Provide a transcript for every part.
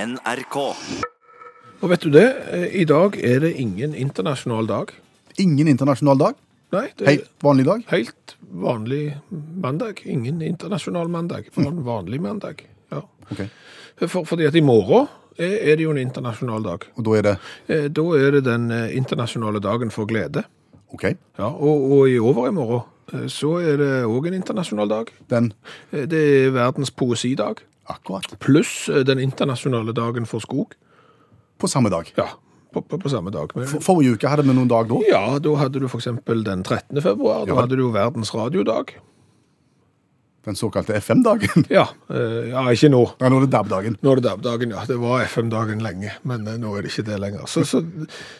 NRK. Og vet du det, Eh, i dag er det ingen internasjonal dag. Ingen internasjonal dag. Nei, det er Helt vanlig dag. helt vanlig mandag. Ingen internasjonal mandag, bare en vanlig mandag. Ja. Eh, Ok. For, fordi at i morgen er, er det jo en internasjonal dag. Og da er det Eh, Da er det den eh, internasjonale dagen for glede. OK. Ja, og, og i overmorgen eh, så er det òg en internasjonal dag. Den Eh, Det er verdens poesidag, akkurat pluss eh, den internasjonale dagen for skog. på samme dag. Ja, på, på, på samme dag. Men- For, forrige uke hadde vi noen dag da. Ja, da hadde du for eksempel den 13. februar, da Ja. hadde du jo verdens radiodag. Den såkalte FM-dagen. Ja, eh, ja, ikke nå. Ja, nå er det DAB-dagen. Nå er det DAB-dagen, ja. Det var FM-dagen lenge, men eh, nå er det ikke det lenger. Så, så,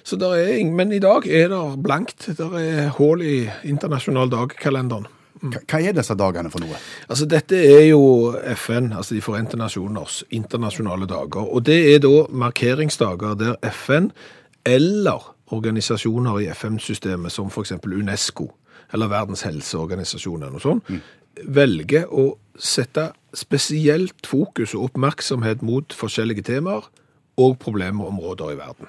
så der er, ing- men i dag er det blankt. Der er hål i internasjonal dag-kalenderen. Hva- Hva er disse dagene for noe? Altså, dette er jo FN, altså De forente nasjoners internasjonale dager. Og det er da markeringsdager der FN eller organisasjoner i FN-systemet, som f.eks. UNESCO eller Verdens helseorganisasjon eller noe sånt, velger å sette spesielt fokus og oppmerksomhet mot forskjellige temaer og problemområder i verden.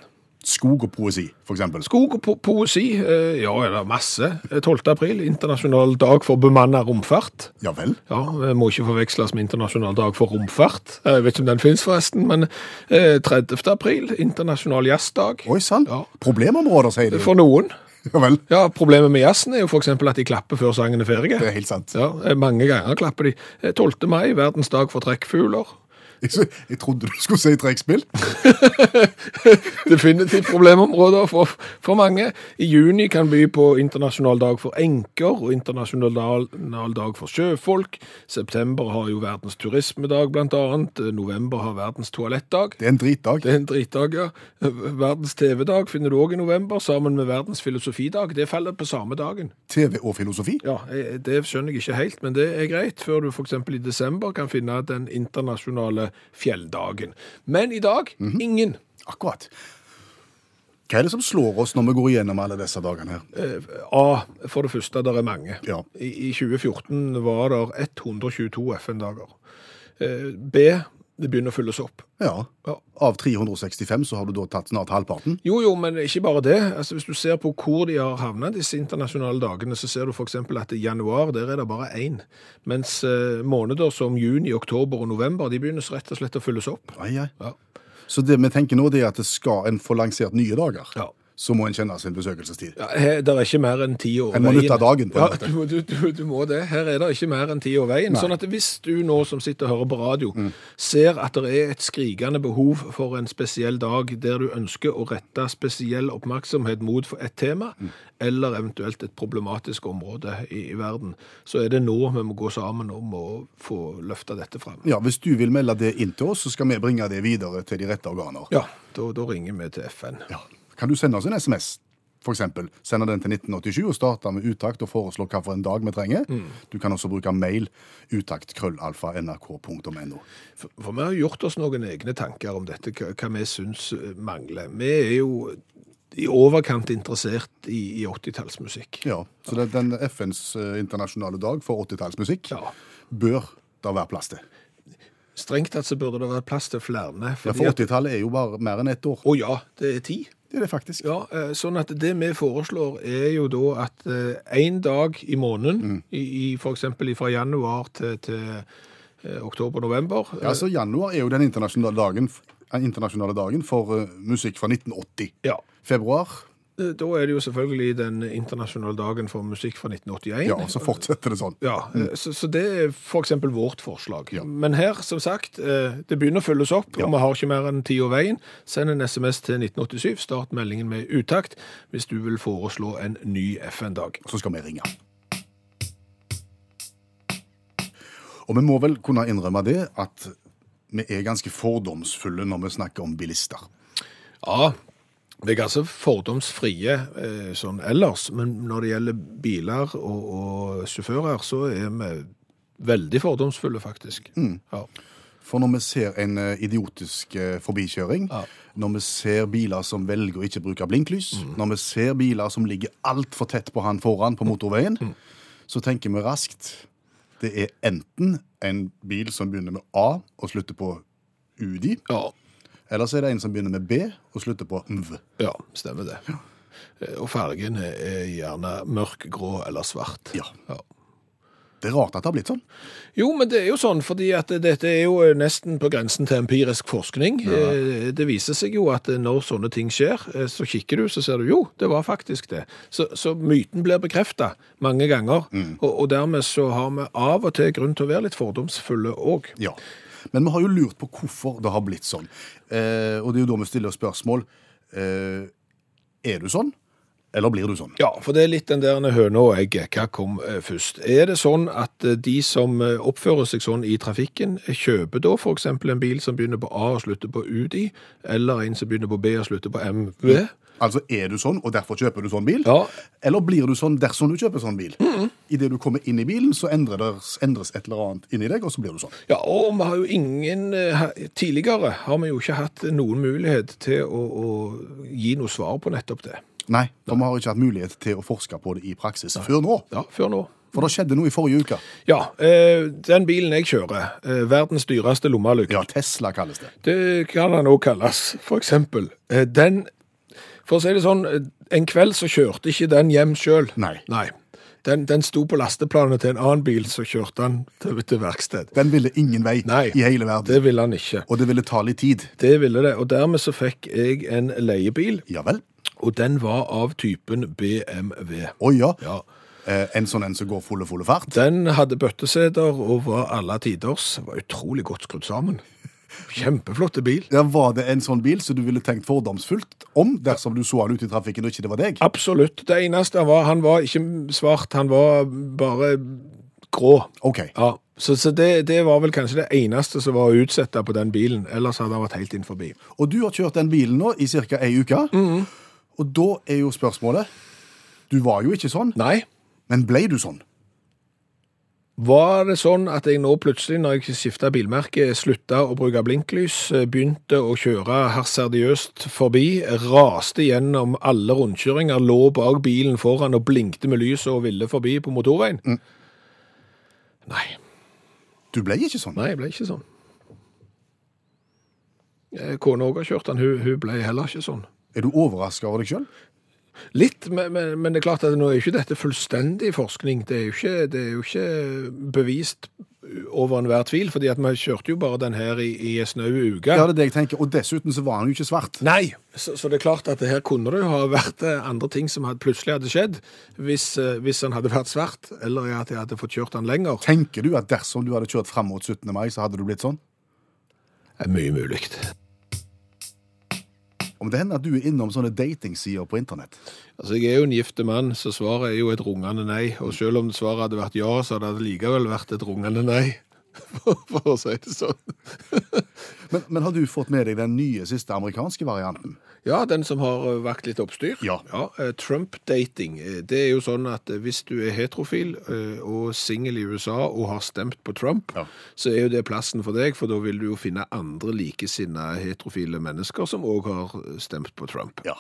Skog og poesi, for eksempel. Skog og po poesi, eh, ja, det er masse. 12. april, internasjonal dag for bemanna romfart. Ja vel. Ja, det må ikke forveksles med internasjonal dag for romfart. Jeg vet ikke om den finnes forresten, men eh, 30. april, internasjonal jazzdag. Oi sann. Ja. Problemområder, sier de. For noen. Ja vel. Ja, problemet med jazzen er jo for eksempel at de klapper før sangen er ferdig. Det er helt sant. Ja, eh, mange ganger klapper de. Eh, 12. mai, verdens dag for trekkfugler. Jeg, s- jeg trodde du skulle si trekkspill. Definitivt problemområder for, for mange. I juni kan by på internasjonal dag for enker og internasjonal internasjonal dag for sjøfolk. September har jo verdens turismedag, blant annet. Eh, November har verdens toalettdag. Det er en dritdag. Det er en dritdag, ja. Verdens TV-dag finner du òg i november, sammen med verdens filosofidag. Det faller på samme dagen. TV og filosofi. Ja, jeg- Det skjønner jeg ikke helt, men det er greit, før du f.eks. i desember kan finne den internasjonale fjelldagen. Men i dag ingen. Akkurat. Hva er det som slår oss når vi går igjennom alle disse dagene her? Eh, A, for det første, der er mange. Ja. I, I 2014 var det 122 FN-dager. Eh, B, det begynner å fylles opp. Ja. Ja. Av 365 så har du da tatt snart halvparten. Jo, jo, men ikke bare det. Altså, hvis du ser på hvor de har havnet disse internasjonale dagene, så ser du f.eks. at i januar der er det bare én. Mens eh, måneder som juni, oktober og november de begynner rett og slett å fylles opp. Ai, ai. Ja. Så det vi tenker nå det er at det skal en få lansert nye dager, Ja. så må en kjenne sin besøkelsestid. Ja, her, det er ikke mer enn ti år En må nytte dagen, på en ja, måte. du, må- du, du, du må det. Her er det ikke mer enn ti år veien. Sånn at hvis du nå som sitter og hører på radio, Mm. ser at det er et skrikende behov for en spesiell dag der du ønsker å rette spesiell oppmerksomhet mot for et tema, Mm. eller eventuelt et problematisk område i, i verden, så er det nå vi må gå sammen om å få løfta dette frem. Ja, Hvis du vil melde det inn til oss, så skal vi bringe det videre til de rette organer. Ja, da, da ringer vi til FN. Ja. Kan du sende oss en SMS, f.eks.? Sende den til 1987 og starte med utakt og foreslå hva for en dag vi trenger. Du kan også bruke mail utakt.krøllalfa.nrk.no. For, for vi har gjort oss noen egne tanker om dette, hva, hva vi syns eh, mangler. Vi er jo i overkant interessert i, i 80-tallsmusikk. Ja, så det, den FNs eh, internasjonale dag for 80-tallsmusikk Ja. bør da være plass til. Strengt tatt så burde det vært plass til flere. Ja, fordi for at- 80-tallet er jo bare mer enn ett år. Å ja, det er ti. Det er det faktisk. Ja, eh, sånn at det vi foreslår er jo da at én dag i Mm. måneden, i, i f.eks. fra januar til, til eh, oktober-november Ja, altså Januar er jo den internasjonale dagen, den internasjonale dagen for eh, musikk fra 1980. ja. Februar, Eh, Da er det jo selvfølgelig den internasjonale dagen for musikk fra 1981. ja, så fortsetter det sånn. Ja, eh, så, så det er for eksempel vårt forslag. Men her, som sagt, eh, det begynner å følges opp, og vi har ikke mer enn ti år veien. Send en SMS til 1987, start meldingen med utakt, hvis du vil foreslå en ny FN-dag. Så skal vi ringe. Og vi må vel kunne innrømme det at vi er ganske fordomsfulle når vi snakker om bilister. Ja, vi er ganske altså fordomsfrie eh, sånn ellers, men når det gjelder biler og, og sjåfører, så er vi veldig fordomsfulle, faktisk. Ja. For når vi ser en eh, idiotisk eh, forbikjøring, Ja. når vi ser biler som velger å ikke bruke blinklys, når vi ser biler som ligger altfor tett på han foran på motorveien, så tenker vi raskt det er enten en bil som begynner med A og slutter på UDI, ja. Ellers er det en som begynner med B og slutter på MV. Ja, stemmer det. Eh, Og fargen er- er gjerne mørk, grå eller svart. Ja. Det er rart at det har blitt sånn. Jo, men det er jo sånn, fordi at dette er jo eh, nesten på grensen til empirisk forskning. Eh, Det viser seg jo at eh, når sånne ting skjer, eh, så kikker du, så ser du jo, det var faktisk det. Så, så myten blir bekrefta mange ganger, og, og dermed så har vi av og til grunn til å være litt fordomsfulle òg. Ja. Men vi har jo lurt på hvorfor det har blitt sånn. Eh, og det er jo da vi stiller spørsmål. Eh, er du sånn, eller blir du sånn? Ja, for det er litt den der høna og egget. Hva kom eh, først? Er det sånn at eh, de som eh, oppfører seg sånn i trafikken, eh, kjøper da f.eks. en bil som begynner på A og slutter på UDI, eller en som begynner på B og slutter på MV? Altså, er du sånn, og derfor kjøper du sånn bil? Ja. Eller blir du sånn dersom du kjøper sånn bil? Idet du kommer inn i bilen, så endrer det- endres et eller annet inni deg, og så blir du sånn. Ja, og vi har jo ingen eh, ha- Tidligere har vi jo ikke hatt noen mulighet til å, å gi noe svar på nettopp det. Nei, for vi har ikke hatt mulighet til å forske på det i praksis før nå. Ja, før nå. For det skjedde noe i forrige uke. Ja, eh, den bilen jeg kjører, eh, verdens dyreste lommelykt, Ja, Tesla kalles det. det kan den òg kalles, for eksempel. Eh, den For å si det sånn, eh, en kveld så kjørte ikke den hjem sjøl. Nei. Nei. Den, den sto på lasteplanet til en annen bil, så kjørte han til, til verksted. Den ville ingen vei Nei, i hele verden. Det ville han ikke. Og det ville ta litt tid. Det ville det. Og dermed så fikk jeg en leiebil. Ja vel. Og den var av typen BMW. Å ja. Ja. Eh, en sånn en som går fulle, fulle fart. Den hadde bøtteseter og var alle tiders. Var utrolig godt skrudd sammen. Kjempeflotte bil. Ja, Var det en sånn bil som du ville tenkt fordomsfullt om dersom du så han ute i trafikken og ikke det var deg? Absolutt. Det eneste han var, han var ikke svart, han var bare grå. OK. Ja, Så, så det, det var vel kanskje det eneste som var å utsette på den bilen. Ellers hadde han vært helt inn forbi. Og du har kjørt den bilen nå i ca. ei uke. Og da er jo spørsmålet Du var jo ikke sånn, Nei. men ble du sånn? Var det sånn at jeg nå plutselig, når jeg skifta bilmerke, slutta å bruke blinklys, begynte å kjøre herserdiøst forbi, raste gjennom alle rundkjøringer, lå bak bilen foran og blinkte med lyset og ville forbi på motorveien? Nei. Du ble ikke sånn. Nei, jeg ble ikke sånn. Eh, Kona òg har kjørt den, hun, hun ble heller ikke sånn. Er du overraska over deg sjøl? Litt, men, men, men det er klart at nå er jo ikke dette fullstendig forskning. Det er jo ikke, det er jo ikke bevist over enhver tvil, fordi at vi kjørte jo bare den her i, i en snau uke. Ja, det er det jeg tenker. Og dessuten så var han jo ikke svart. Nei, så, så det er klart at det her kunne det jo ha vært eh, andre ting som hadde, plutselig hadde skjedd, hvis, eh, hvis han hadde vært svart, eller at jeg hadde fått kjørt han lenger. Tenker du at dersom du hadde kjørt fram mot 17. mai, så hadde du blitt sånn? Det er mye mulig. Om det hender at du er innom sånne datingsider på internett. Altså, jeg er jo en gifte mann, så svaret er jo et rungende nei. Og selv om svaret hadde vært ja, så hadde det likevel vært et rungende nei. For å si det sånn. Men, men har du fått med deg den nye, siste amerikanske varianten? Ja, den som har eh, vakt litt oppstyr. Ja. eh, Trump-dating. eh, Det er jo sånn at eh, hvis du er heterofil eh, og singel i USA og har stemt på Trump, Ja. så er jo det plassen for deg, for da vil du jo finne andre likesinnede heterofile mennesker som òg har eh, stemt på Trump. Ja.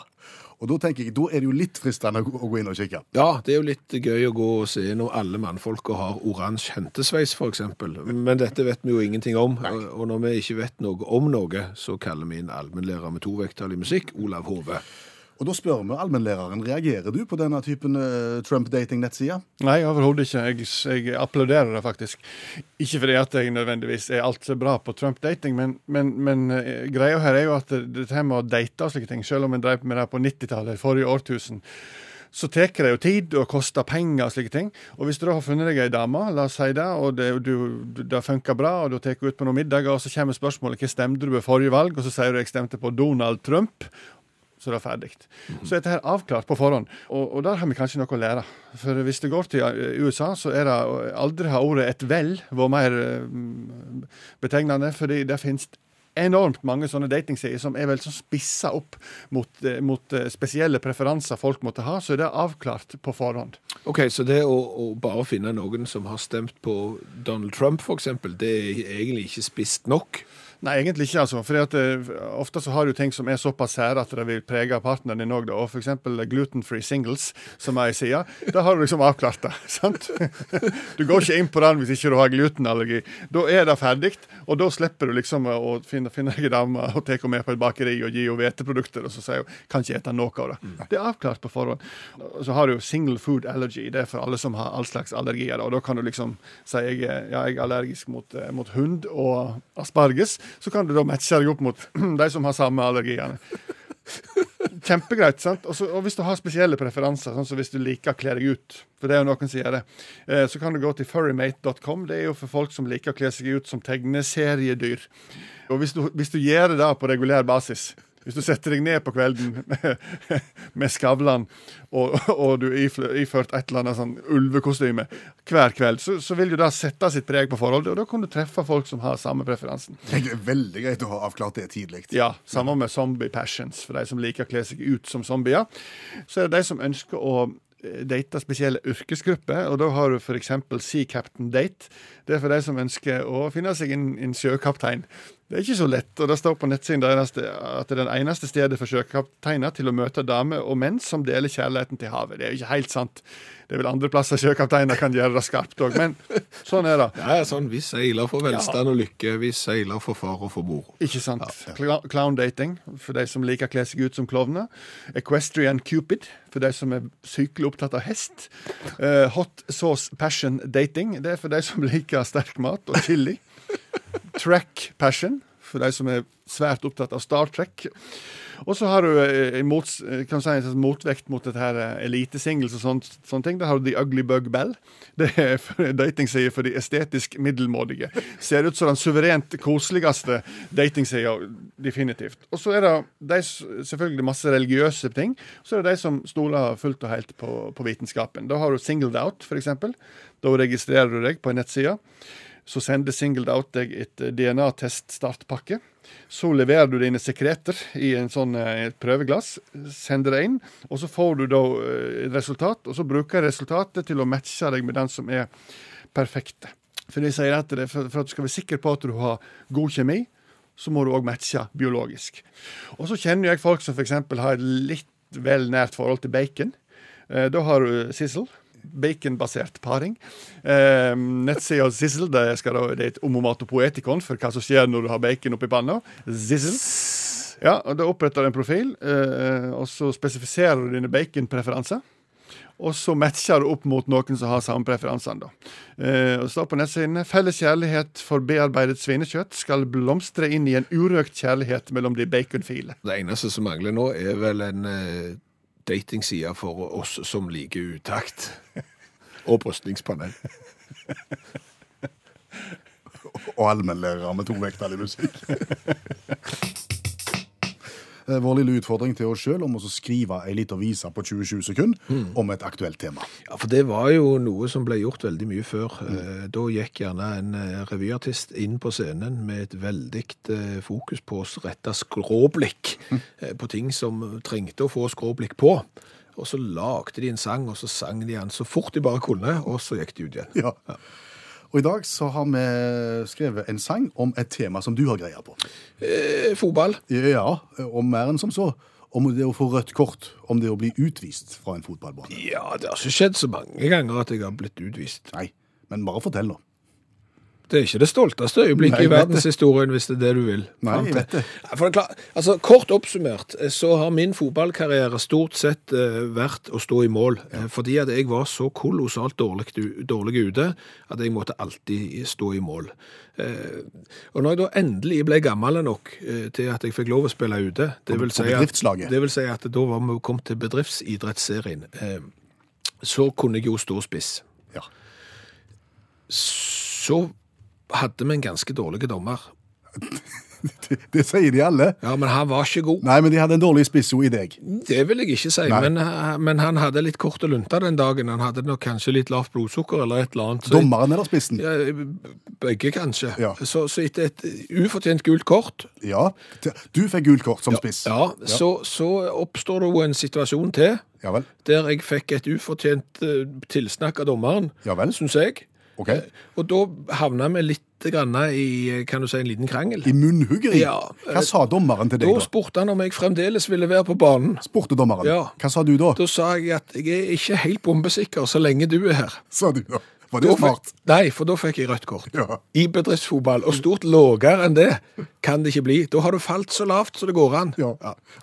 Og da tenker jeg, da er det jo litt fristende å gå- å gå inn og kikke. Ja, det er jo litt gøy å gå og se når alle mannfolka har oransje hentesveis, f.eks. Men dette vet vi jo ingenting om. Og når vi ikke vet noe om noe, så kaller vi inn allmennlærer med tovekttall i musikk, Olav Hove. Og da spør vi allmennlæreren, reagerer du på denne typen eh, Trump-dating-nettsider? Nei, overhodet ikke. Jeg, jeg applauderer det faktisk. Ikke fordi at jeg nødvendigvis er alt så bra på Trump-dating, men, men, men eh, greia her er jo at det- dette her med å date og slike ting, selv om en drev med det på 90-tallet, forrige årtusen, så tar det jo tid og koster penger og slike ting. Og hvis du da har funnet deg ei dame, la oss si det, og det, du, det funker bra, og du tar ut på noen middager, og så kommer spørsmålet hva stemte du ved forrige valg, og så sier du jeg stemte på Donald Trump. Så det er ferdig. Så er dette her avklart på forhånd, og, og der har vi kanskje noe å lære. For hvis det går til eh, USA, så er det aldri har ordet 'et vel' vært mer eh, betegnende, fordi det finnes enormt mange sånne datingsider som er vel så spissa opp mot, eh, mot eh, spesielle preferanser folk måtte ha, så er det avklart på forhånd. OK, så det å, å bare finne noen som har stemt på Donald Trump, f.eks., det er egentlig ikke spist nok? Nei, egentlig ikke, altså. Fordi at eh, ofte så har du ting som er såpass sære at det vil prege partneren din òg, da. Og f.eks. gluten-free singles, som jeg sier. Da har du liksom avklart det, sant? Du går ikke inn på den hvis ikke du har glutenallergi. Da er det ferdig, og da slipper du liksom å finne, finne ei dame og ta henne med på et bakeri og gi henne hveteprodukter, og så sier hun kan ikke ete noe av det. Det er avklart på forhånd. Og Så har du jo single food allergy. Det er for alle som har all slags allergier. da. Og da kan du liksom si jeg, er- ja, jeg er allergisk mot, eh, mot hund og asparges. Så kan du da matche deg opp mot de som har samme allergiene. Kjempegreit. sant? Og så- og hvis du har spesielle preferanser, sånn som hvis du liker å kle deg ut, for det er jo noen som gjør det, eh, så kan du gå til furrymate.com. Det er jo for folk som liker å kle seg ut som tegneseriedyr. Og hvis du, hvis du gjør det da på regulær basis hvis du setter deg ned på kvelden med, med Skavlan og, og du er ifl- iført et eller annet sånn ulvekostyme hver kveld, så, så vil jo det sette sitt preg på forholdet, og da kan du treffe folk som har samme preferansen. Det er veldig greit å ha avklart det tidlig. Ja, Samme med zombie passions, for de som liker å kle seg ut som zombier. Så er det de som ønsker å eh, date spesielle yrkesgrupper, og da har du f.eks. Sea Captain Date. Det er for de som ønsker å finne seg en, en sjøkaptein. Det er ikke så lett, og det står på nettsiden deres at det er den eneste stedet for sjøkapteiner til å møte damer og menn som deler kjærligheten til havet. Det er jo ikke helt sant. Det er vel andre plasser sjøkapteiner kan gjøre det skarpt òg, men sånn er det. Ja, sånn, Vi seiler for velstand og lykke, vi seiler for far og for mor. Ikke sant. Cla- Clown dating, for de som liker å kle seg ut som klovner. Equestrian cupid, for de som er sykelig opptatt av hest. Eh, hot sauce passion dating, det er for de som liker sterk mat og chili. Track passion, for de som er svært opptatt av Star Trek. Og så har du eh, en mots, eh, kan du si, en slags motvekt mot dette her eh, elitesingles og sånt, sånne ting. Der har du The Ugly Bug Bell. Det er for- en datingside for de estetisk middelmådige. Ser ut som den suverent koseligste datingsida, definitivt. Og så er det de, s- selvfølgelig masse religiøse ting. Så er det de som stoler fullt og helt på, på vitenskapen. Da har du Singled Out, f.eks. Da registrerer du deg på en nettside. Så sender Singled Out deg et eh, DNA-teststartpakke. Så leverer du dine sekreter i en sånn eh, et prøveglass, sender det inn, og så får du da eh, et resultat, og så bruker jeg resultatet til å matche deg med den som er perfekte. For de sier at det, for, for at du skal være sikker på at du har god kjemi, så må du òg matche biologisk. Og så kjenner jeg folk som f.eks. har et litt vel nært forhold til bacon. Eh, Da har du Sizzle. Baconbasert paring. Eh, Nettsida Sizzle det, skal da, det er et omomatopoetikon for hva som skjer når du har bacon oppi panna. Sizzle. Ja, og Da oppretter du en profil, eh, og så spesifiserer du dine baconpreferanser. Og så matcher du opp mot noen som har samme preferansene. da. Eh, og står på nettsidene Felles kjærlighet for bearbeidet svinekjøtt skal blomstre inn i en urøkt kjærlighet mellom de baconfile. Det eneste som mangler nå, er vel en eh, datingside for oss som liker utakt. Og brystningspanel. Og allmennlærere med tovektig musikk. Det er Eh, Vår lille utfordring til oss sjøl om å så skrive ei lita vise på 20-20 sekunder om et aktuelt tema. Ja, for det var jo noe som ble gjort veldig mye før. Eh, Da gikk gjerne en eh, revyartist inn på scenen med et veldig eh, fokus på å rette skråblikk eh, på ting som trengte å få skråblikk på. Og så lagde de en sang, og så sang de den så fort de bare kunne, og så gikk de ut igjen. Ja. Og i dag så har vi skrevet en sang om et tema som du har greie på. Eh, Fotball. Ja, og mer enn som så. Om det å få rødt kort. Om det å bli utvist fra en fotballbane. Ja, det har ikke skjedd så mange ganger at jeg har blitt utvist. Nei, men bare fortell, da. Det er ikke det stolteste øyeblikket Nei, jeg i vet det. verdenshistorien, hvis det er det du vil. Nei, fram jeg til. vet det. Ja, For det er klart, altså, kort oppsummert eh, så har min fotballkarriere stort sett eh, vært å stå i mål, eh, fordi at jeg var så kolossalt dårlig, u- dårlig ute at jeg måtte alltid stå i mål. Eh, og når jeg da endelig ble gammel nok eh, til at jeg fikk lov å spille ute, det På- vil på si at, bedriftslaget. det vil si at da var vi kommet til bedriftsidrettsserien, eh, så kunne jeg jo stå spiss Ja. så hadde vi en ganske dårlig dommer. Det, det sier de alle. Ja, men han var ikke god. Nei, men de hadde en dårlig spissord i deg. Det vil jeg ikke si, Nei. men, eh, men han hadde litt korte lunter den dagen. Han hadde nok kanskje litt lavt blodsukker eller et eller annet. Så Dommeren eller spissen? ja, begge kanskje. Ja. Så, så etter et ufortjent gult kort, Ja. Du fikk gult kort som spiss. ja, Så, så oppstår det jo en situasjon til, Ja vel. der jeg fikk et ufortjent eh, tilsnakk av dommeren, Ja vel. synes jeg. OK. Og da havna vi litt grann i kan du si, en liten krangel. I munnhuggeri? Ja, eh, Hva sa dommeren til Da deg, da? spurte han om jeg fremdeles ville være på banen. Spurte dommeren. Ja. Hva sa du da? Da sa jeg at jeg er ikke helt bombesikker så lenge du er her. Sa du da. Var Da det fikk- smart? Nei, for da fikk jeg rødt kort. Ja. I bedriftsfotball, og stort lavere enn det kan det ikke bli. Da har du falt så lavt så det går an. Ja.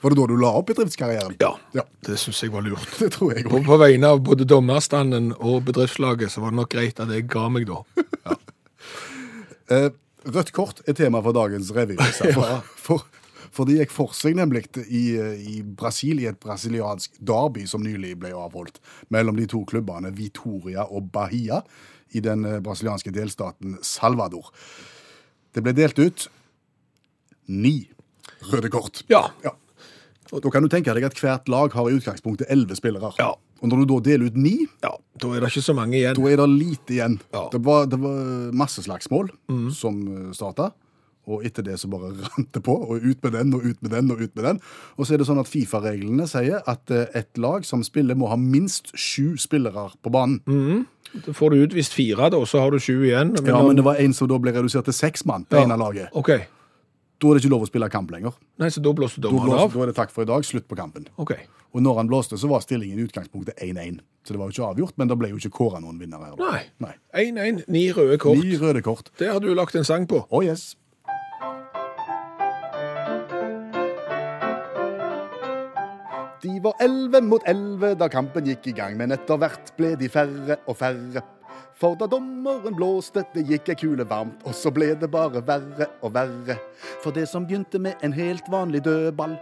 Var det da du la opp bedriftskarrieren? Ja, Ja. det syns jeg var lurt. Det tror jeg På, òg. på vegne av både dommerstanden og bedriftslaget så var det nok greit at jeg ga meg da. Eh, rødt kort er tema for dagens revy. For, for, for det gikk for seg nemlig i, i Brasil, i et brasiliansk derby som nylig ble avholdt mellom de to klubbene Vitoria og Bahia i den eh, brasilianske delstaten Salvador. Det ble delt ut ni røde kort. Ja. Ja. Da kan du tenke deg at hvert lag har i utgangspunktet elleve spillere. Ja. Og når du da deler ut ni, ja, Da er det ikke så mange igjen. da er det lite igjen. Ja. Det, var, det var masse slagsmål som starta. Og etter det så bare rant det på, og ut med den og ut med den. Og ut med den. Og så er det sånn at Fifa-reglene sier at eh, et lag som spiller, må ha minst sju spillere på banen. Da får du utvist fire, da, og så har du sju igjen. Men Mm. Ja, om- Men det var en som da ble redusert til seks mann. det Ja. ene laget. OK. Da er det ikke lov å spille kamp lenger. Nei, så da blåste Da, dommeren blåser, av? da er det takk for i dag, slutt på kampen. OK. Og når han blåste, så var stillingen i utgangspunktet 1-1. Så det var jo ikke avgjort, men det ble jo ikke kåra noen vinnere. her da. Nei. 1-1, ni røde kort. Ni røde kort. Det har du lagt en sang på. Oh yes. De var elleve mot elleve da kampen gikk i gang, men etter hvert ble de færre og færre. For da dommeren blåste, det gikk ei kule varmt, og så ble det bare verre og verre. For det som begynte med en helt vanlig dødball,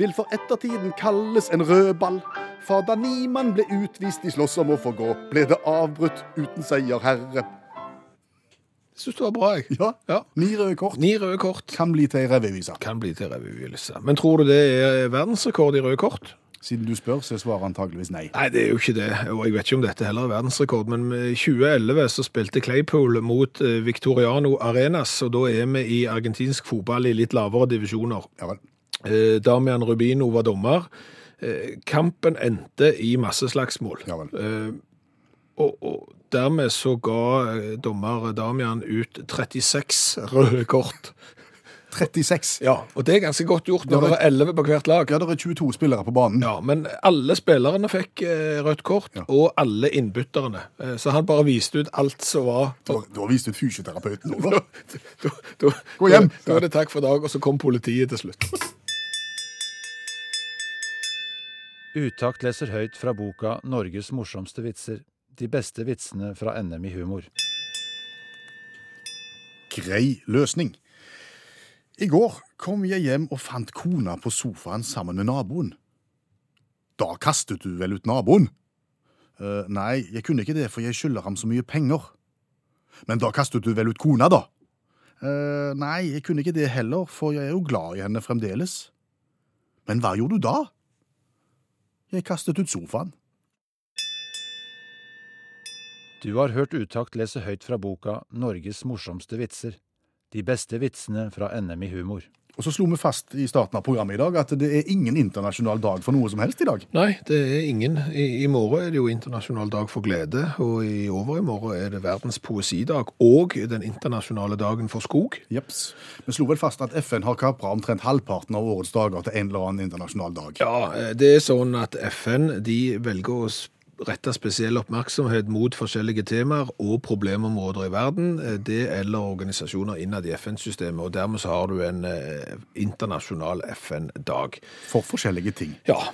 vil for ettertiden kalles en rødball. For da ni mann ble utvist de slåss om å få gå, ble det avbrutt uten seier herre. Syns det var bra, jeg. Ja, Ja. ni røde kort Ni røde kort kan bli til ei revyvise. kan bli til revyvelse. Men tror du det er verdensrekord i røde kort? Siden du spør, så er svaret antageligvis nei. Nei, det er jo ikke det. Og jeg vet ikke om dette heller er verdensrekord, men i 2011 så spilte Claypool mot eh, Victoriano Arenas, og da er vi i argentinsk fotball i litt lavere divisjoner. Ja vel. Eh, Damian Rubino var dommer. Eh, Kampen endte i masseslagsmål. Ja vel. Eh, Og, og dermed så ga eh, dommer Damian ut 36 røde kort. 36. Ja, og det er ganske godt gjort Ja, når det- det er 11 på hvert lag. Ja, det er 22 spillere på banen. Ja, men alle spillerne fikk eh, rødt kort, og alle innbytterne. Eh, så han bare viste ut alt som var Da, da viste du fysioterapeuten nå, da. da, da, Gå hjem! Da, da er det takk for i dag, og så kom politiet til slutt. Utakt leser høyt fra boka 'Norges morsomste vitser'. De beste vitsene fra NM i humor. Grei løsning. I går kom jeg hjem og fant kona på sofaen sammen med naboen. Da kastet du vel ut naboen? «Eh, nei, jeg kunne ikke det, for jeg skylder ham så mye penger. Men da kastet du vel ut kona, da? «Eh, nei, jeg kunne ikke det heller, for jeg er jo glad i henne fremdeles. Men hva gjorde du da? Jeg kastet ut sofaen. Du har hørt Utakt lese høyt fra boka 'Norges morsomste vitser'. De beste vitsene fra NM i humor. Og så slo vi fast i starten av programmet i dag at det er ingen internasjonal dag for noe som helst i dag. Nei, det er ingen. I, I morgen er det jo internasjonal dag for glede, og i overmorgen er det verdens poesidag og den internasjonale dagen for skog. Jeps. Vi slo vel fast at FN har kapra omtrent halvparten av årets dager til en eller annen internasjonal dag. Ja, eh, det er sånn at FN de velger å s- rette spesiell oppmerksomhet mot forskjellige temaer og problemområder i verden, eh, det eller organisasjoner innad i FN-systemet, og dermed så har du en eh, internasjonal FN-dag. For forskjellige ting. Ja,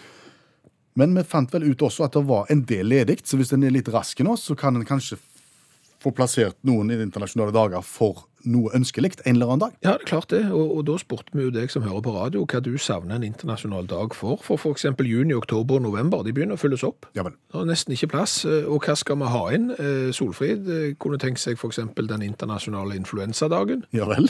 Men vi fant vel ut også at det var en del ledig, så hvis en er litt rask nå, så kan en kanskje få plassert noen i internasjonale dager for noe ønskelig en eller annen dag. ja, det er klart det, og, og da spurte vi jo deg som hører på radio hva du savner en internasjonal dag for, for for eksempel juni, oktober og november, de begynner å fylles opp. Ja vel. Det er nesten ikke plass, eh, og hva skal vi ha inn? Eh, Solfrid eh, kunne tenkt seg for eksempel den internasjonale influensadagen. Ja vel.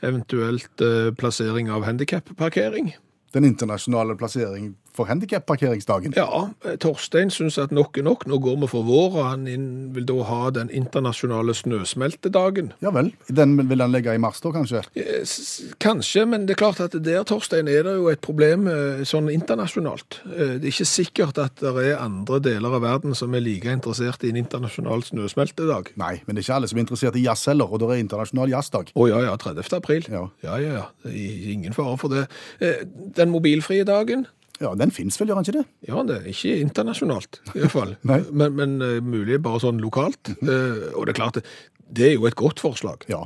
Eventuelt eh, plassering av handikapparkering. Den internasjonale plassering for handikapparkeringsdagen. Ja, eh, Torstein syns at nok er nok, nå går vi for vår, og han inn- vil da ha den internasjonale snøsmeltedagen. Ja vel. Den vil han legge i mars, da, kanskje? Eh, s- Kanskje, men det er klart at der, Torstein, er det jo et problem eh, sånn internasjonalt. Eh, Det er ikke sikkert at det er andre deler av verden som er like interessert i en internasjonal snøsmeltedag. Nei, men det er ikke alle som er interessert i jazz heller, og det er internasjonal jazzdag. Å ja, ja, 30. april. Ja. ja, ja. ja. Det er Ingen fare for det. Eh, Den mobilfrie dagen, Ja, den fins vel, gjør han ikke det? Ja, det er ikke internasjonalt, i hvert fall. Nei. men men eh, mulig bare sånn lokalt. Eh, og det er klart, det, det er jo et godt forslag, Ja.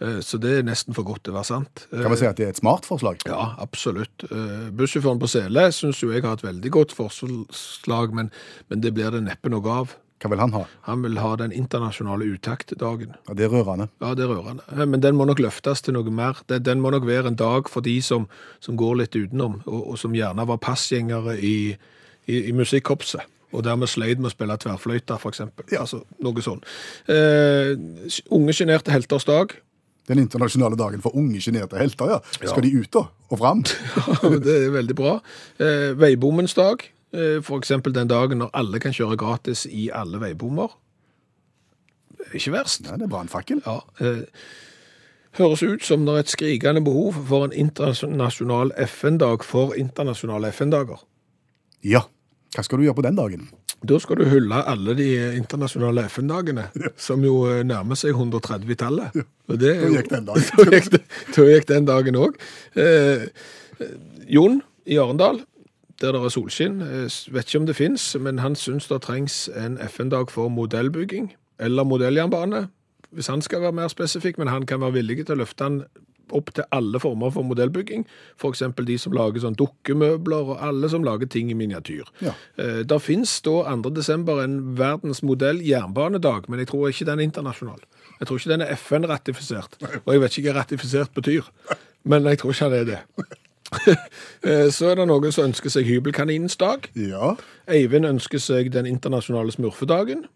eh, så det er nesten for godt til å være sant. Eh, Kan vi si at det er et smart forslag? Ja, absolutt. Eh, Bussjåføren på Sele syns jo jeg har et veldig godt forslag, men, men det blir det neppe noe av. Hva vil han ha? Han vil ha den internasjonale utaktdagen. Ja, det er rørende. Ja, det er rørende. Eh, Men den må nok løftes til noe mer. Den, den må nok være en dag for de som, som går litt utenom, og, og som gjerne var passgjengere i, i, i musikkorpset. Og dermed sleit med å spille tverrfløyte, f.eks. Ja. Altså, noe sånn. Eh, unge sjenerte helters dag. Den internasjonale dagen for unge sjenerte helter, ja. Skal de ut da? Og fram? det er veldig bra. Eh, veibommens dag. Eh, f.eks. den dagen når alle kan kjøre gratis i alle veibommer. Ikke verst. Nei, det er brannfakkel. Ja, eh, høres ut som det er et skrikende behov for en internasjonal FN-dag for internasjonale FN-dager. Ja. Hva skal du gjøre på den dagen? Da skal du hylle alle de internasjonale FN-dagene, som jo eh, nærmer seg 130-tallet. Og det er Da jo- gikk den dagen. Da gikk, det- da gikk den dagen òg. Eh, eh, Jon i Arendal, der det er solskinn, eh, s- vet ikke om det fins, men han syns det trengs en FN-dag for modellbygging eller modelljernbane, hvis han skal være mer spesifikk, men han kan være villig til å løfte han opp til alle former for modellbygging, f.eks. de som lager sånn dukkemøbler, og alle som lager ting i miniatyr. Ja. Eh, Det finnes da 2. desember en verdensmodell jernbanedag, men jeg tror ikke den er internasjonal. Jeg tror ikke den er FN-ratifisert, og jeg vet ikke hva ratifisert betyr, men jeg tror ikke han er det. Eh, Så er det noen som ønsker seg hybelkaninens dag. Ja. Eivind ønsker seg den internasjonale smurfedagen.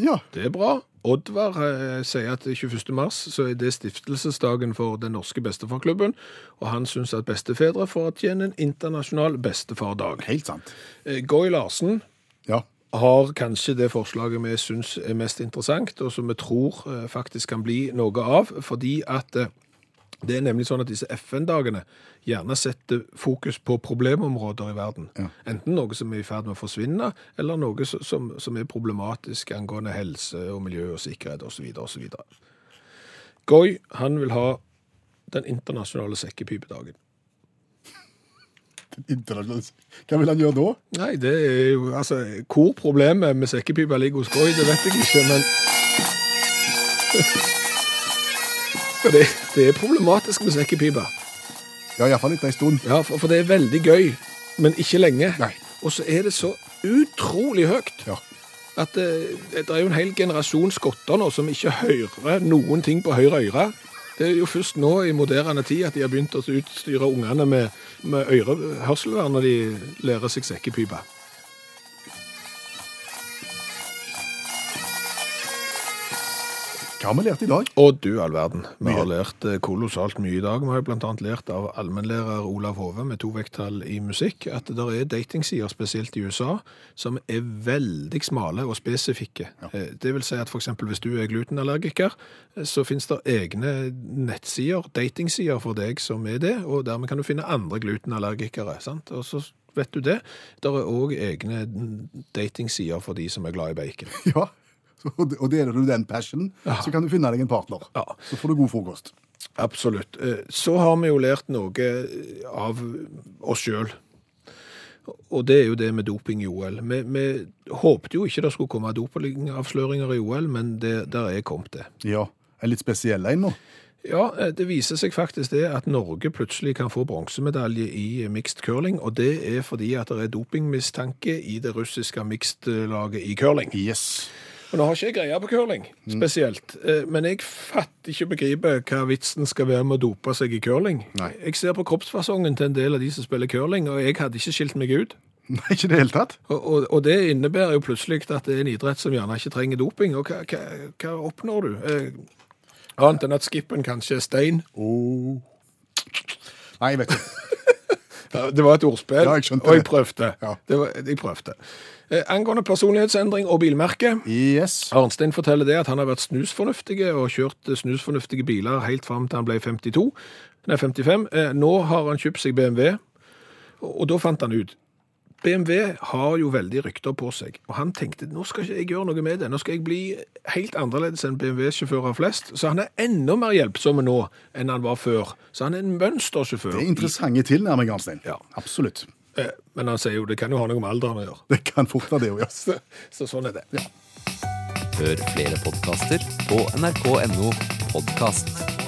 Ja. Det er bra. Oddvar eh, sier at 21. mars så er det stiftelsesdagen for den norske bestefarklubben, og han syns at bestefedre fortjener en internasjonal bestefardag. Helt sant. Eh, Goy Larsen Ja. har kanskje det forslaget vi syns er mest interessant, og som vi tror eh, faktisk kan bli noe av, fordi at eh, det er nemlig sånn at disse FN-dagene gjerne setter fokus på problemområder i verden. Enten noe som er i ferd med å forsvinne, eller noe som- som, som er problematisk angående helse og miljø og sikkerhet osv. osv. Goy han vil ha den internasjonale sekkepipedagen. Internasjonal Hva vil han gjøre da? Nei, det er jo Altså, hvor problemet med sekkepipa ligger hos Goy, det vet jeg ikke, men For det, det er problematisk med sekkepipa. Ja, iallfall etter ei stund. Ja, for, for det er veldig gøy, men ikke lenge. Nei. Og så er det så utrolig høyt Ja. at eh, det er jo en hel generasjon skotter nå som ikke hører noen ting på høyre øre. Det er jo først nå i moderne tid at de har begynt å utstyre ungene med, med ørehørselvern når de lærer seg sekkepipa. Hva har vi lært i dag? Og du all verden. Vi har lært eh, kolossalt mye i dag. Vi har jo bl.a. lært av allmennlærer Olav Hove med to vekttall i musikk at det er datingsider, spesielt i USA, som er veldig smale og spesifikke. Eh, Det vil si at f.eks. hvis du er glutenallergiker, eh, så finnes det egne nettsider, datingsider for deg som er det, og dermed kan du finne andre glutenallergikere. sant? Og så vet du det. Det er òg egne datingsider for de som er glad i bacon. Ja. Så, og og deler du den passionen, så kan du finne deg en partner. Ja. Så får du god frokost. Absolutt. Eh, Så har vi jo lært noe eh, av oss sjøl. Og det er jo det med doping i OL. Vi, vi håpte jo ikke det skulle komme dopingavsløringer i OL, men det, der er kommet det. Ja. En litt spesiell en nå. Ja, eh, det viser seg faktisk det at Norge plutselig kan få bronsemedalje i mixed curling, og det er fordi at det er dopingmistanke i det russiske mixed-laget i curling. Yes. Og nå har ikke jeg greie på curling, Mm. spesielt. Eh, Men jeg fatter ikke og begriper hva vitsen skal være med å dope seg i curling. Nei. Jeg ser på kroppsfasongen til en del av de som spiller curling, og jeg hadde ikke skilt meg ut. Nei, ikke i det hele tatt. Og, og, og det innebærer jo plutselig at det er en idrett som gjerne ikke trenger doping. Og hva, hva, hva oppnår du? Eh, Oh. annet enn at skippen kanskje er stein. Nei, jeg vet ikke. Det var et ordspill, Ja, jeg skjønte og jeg det. prøvde. Ja. Det var, jeg prøvde. Eh, angående personlighetsendring og bilmerke. Yes. Arnstein forteller det at han har vært snusfornuftige og kjørt snusfornuftige biler helt fram til han ble 52, nei 55. Eh, Nå har han kjøpt seg BMW, og og da fant han ut. BMW har jo veldig rykter på seg, og han tenkte nå skal ikke jeg gjøre noe med det, nå skal jeg bli helt annerledes enn BMW-sjåfører flest, så han er enda mer hjelpsom nå enn han var før. Så han er en mønstersjåfør. Det er interessante tilnærming, Arnstein. Ja. Absolutt. Eh, Men han sier jo det kan jo ha noe med alderen å gjøre. Det kan fort være det å gjøre. Så, så sånn er det. Hør flere podkaster på nrk.no podkast.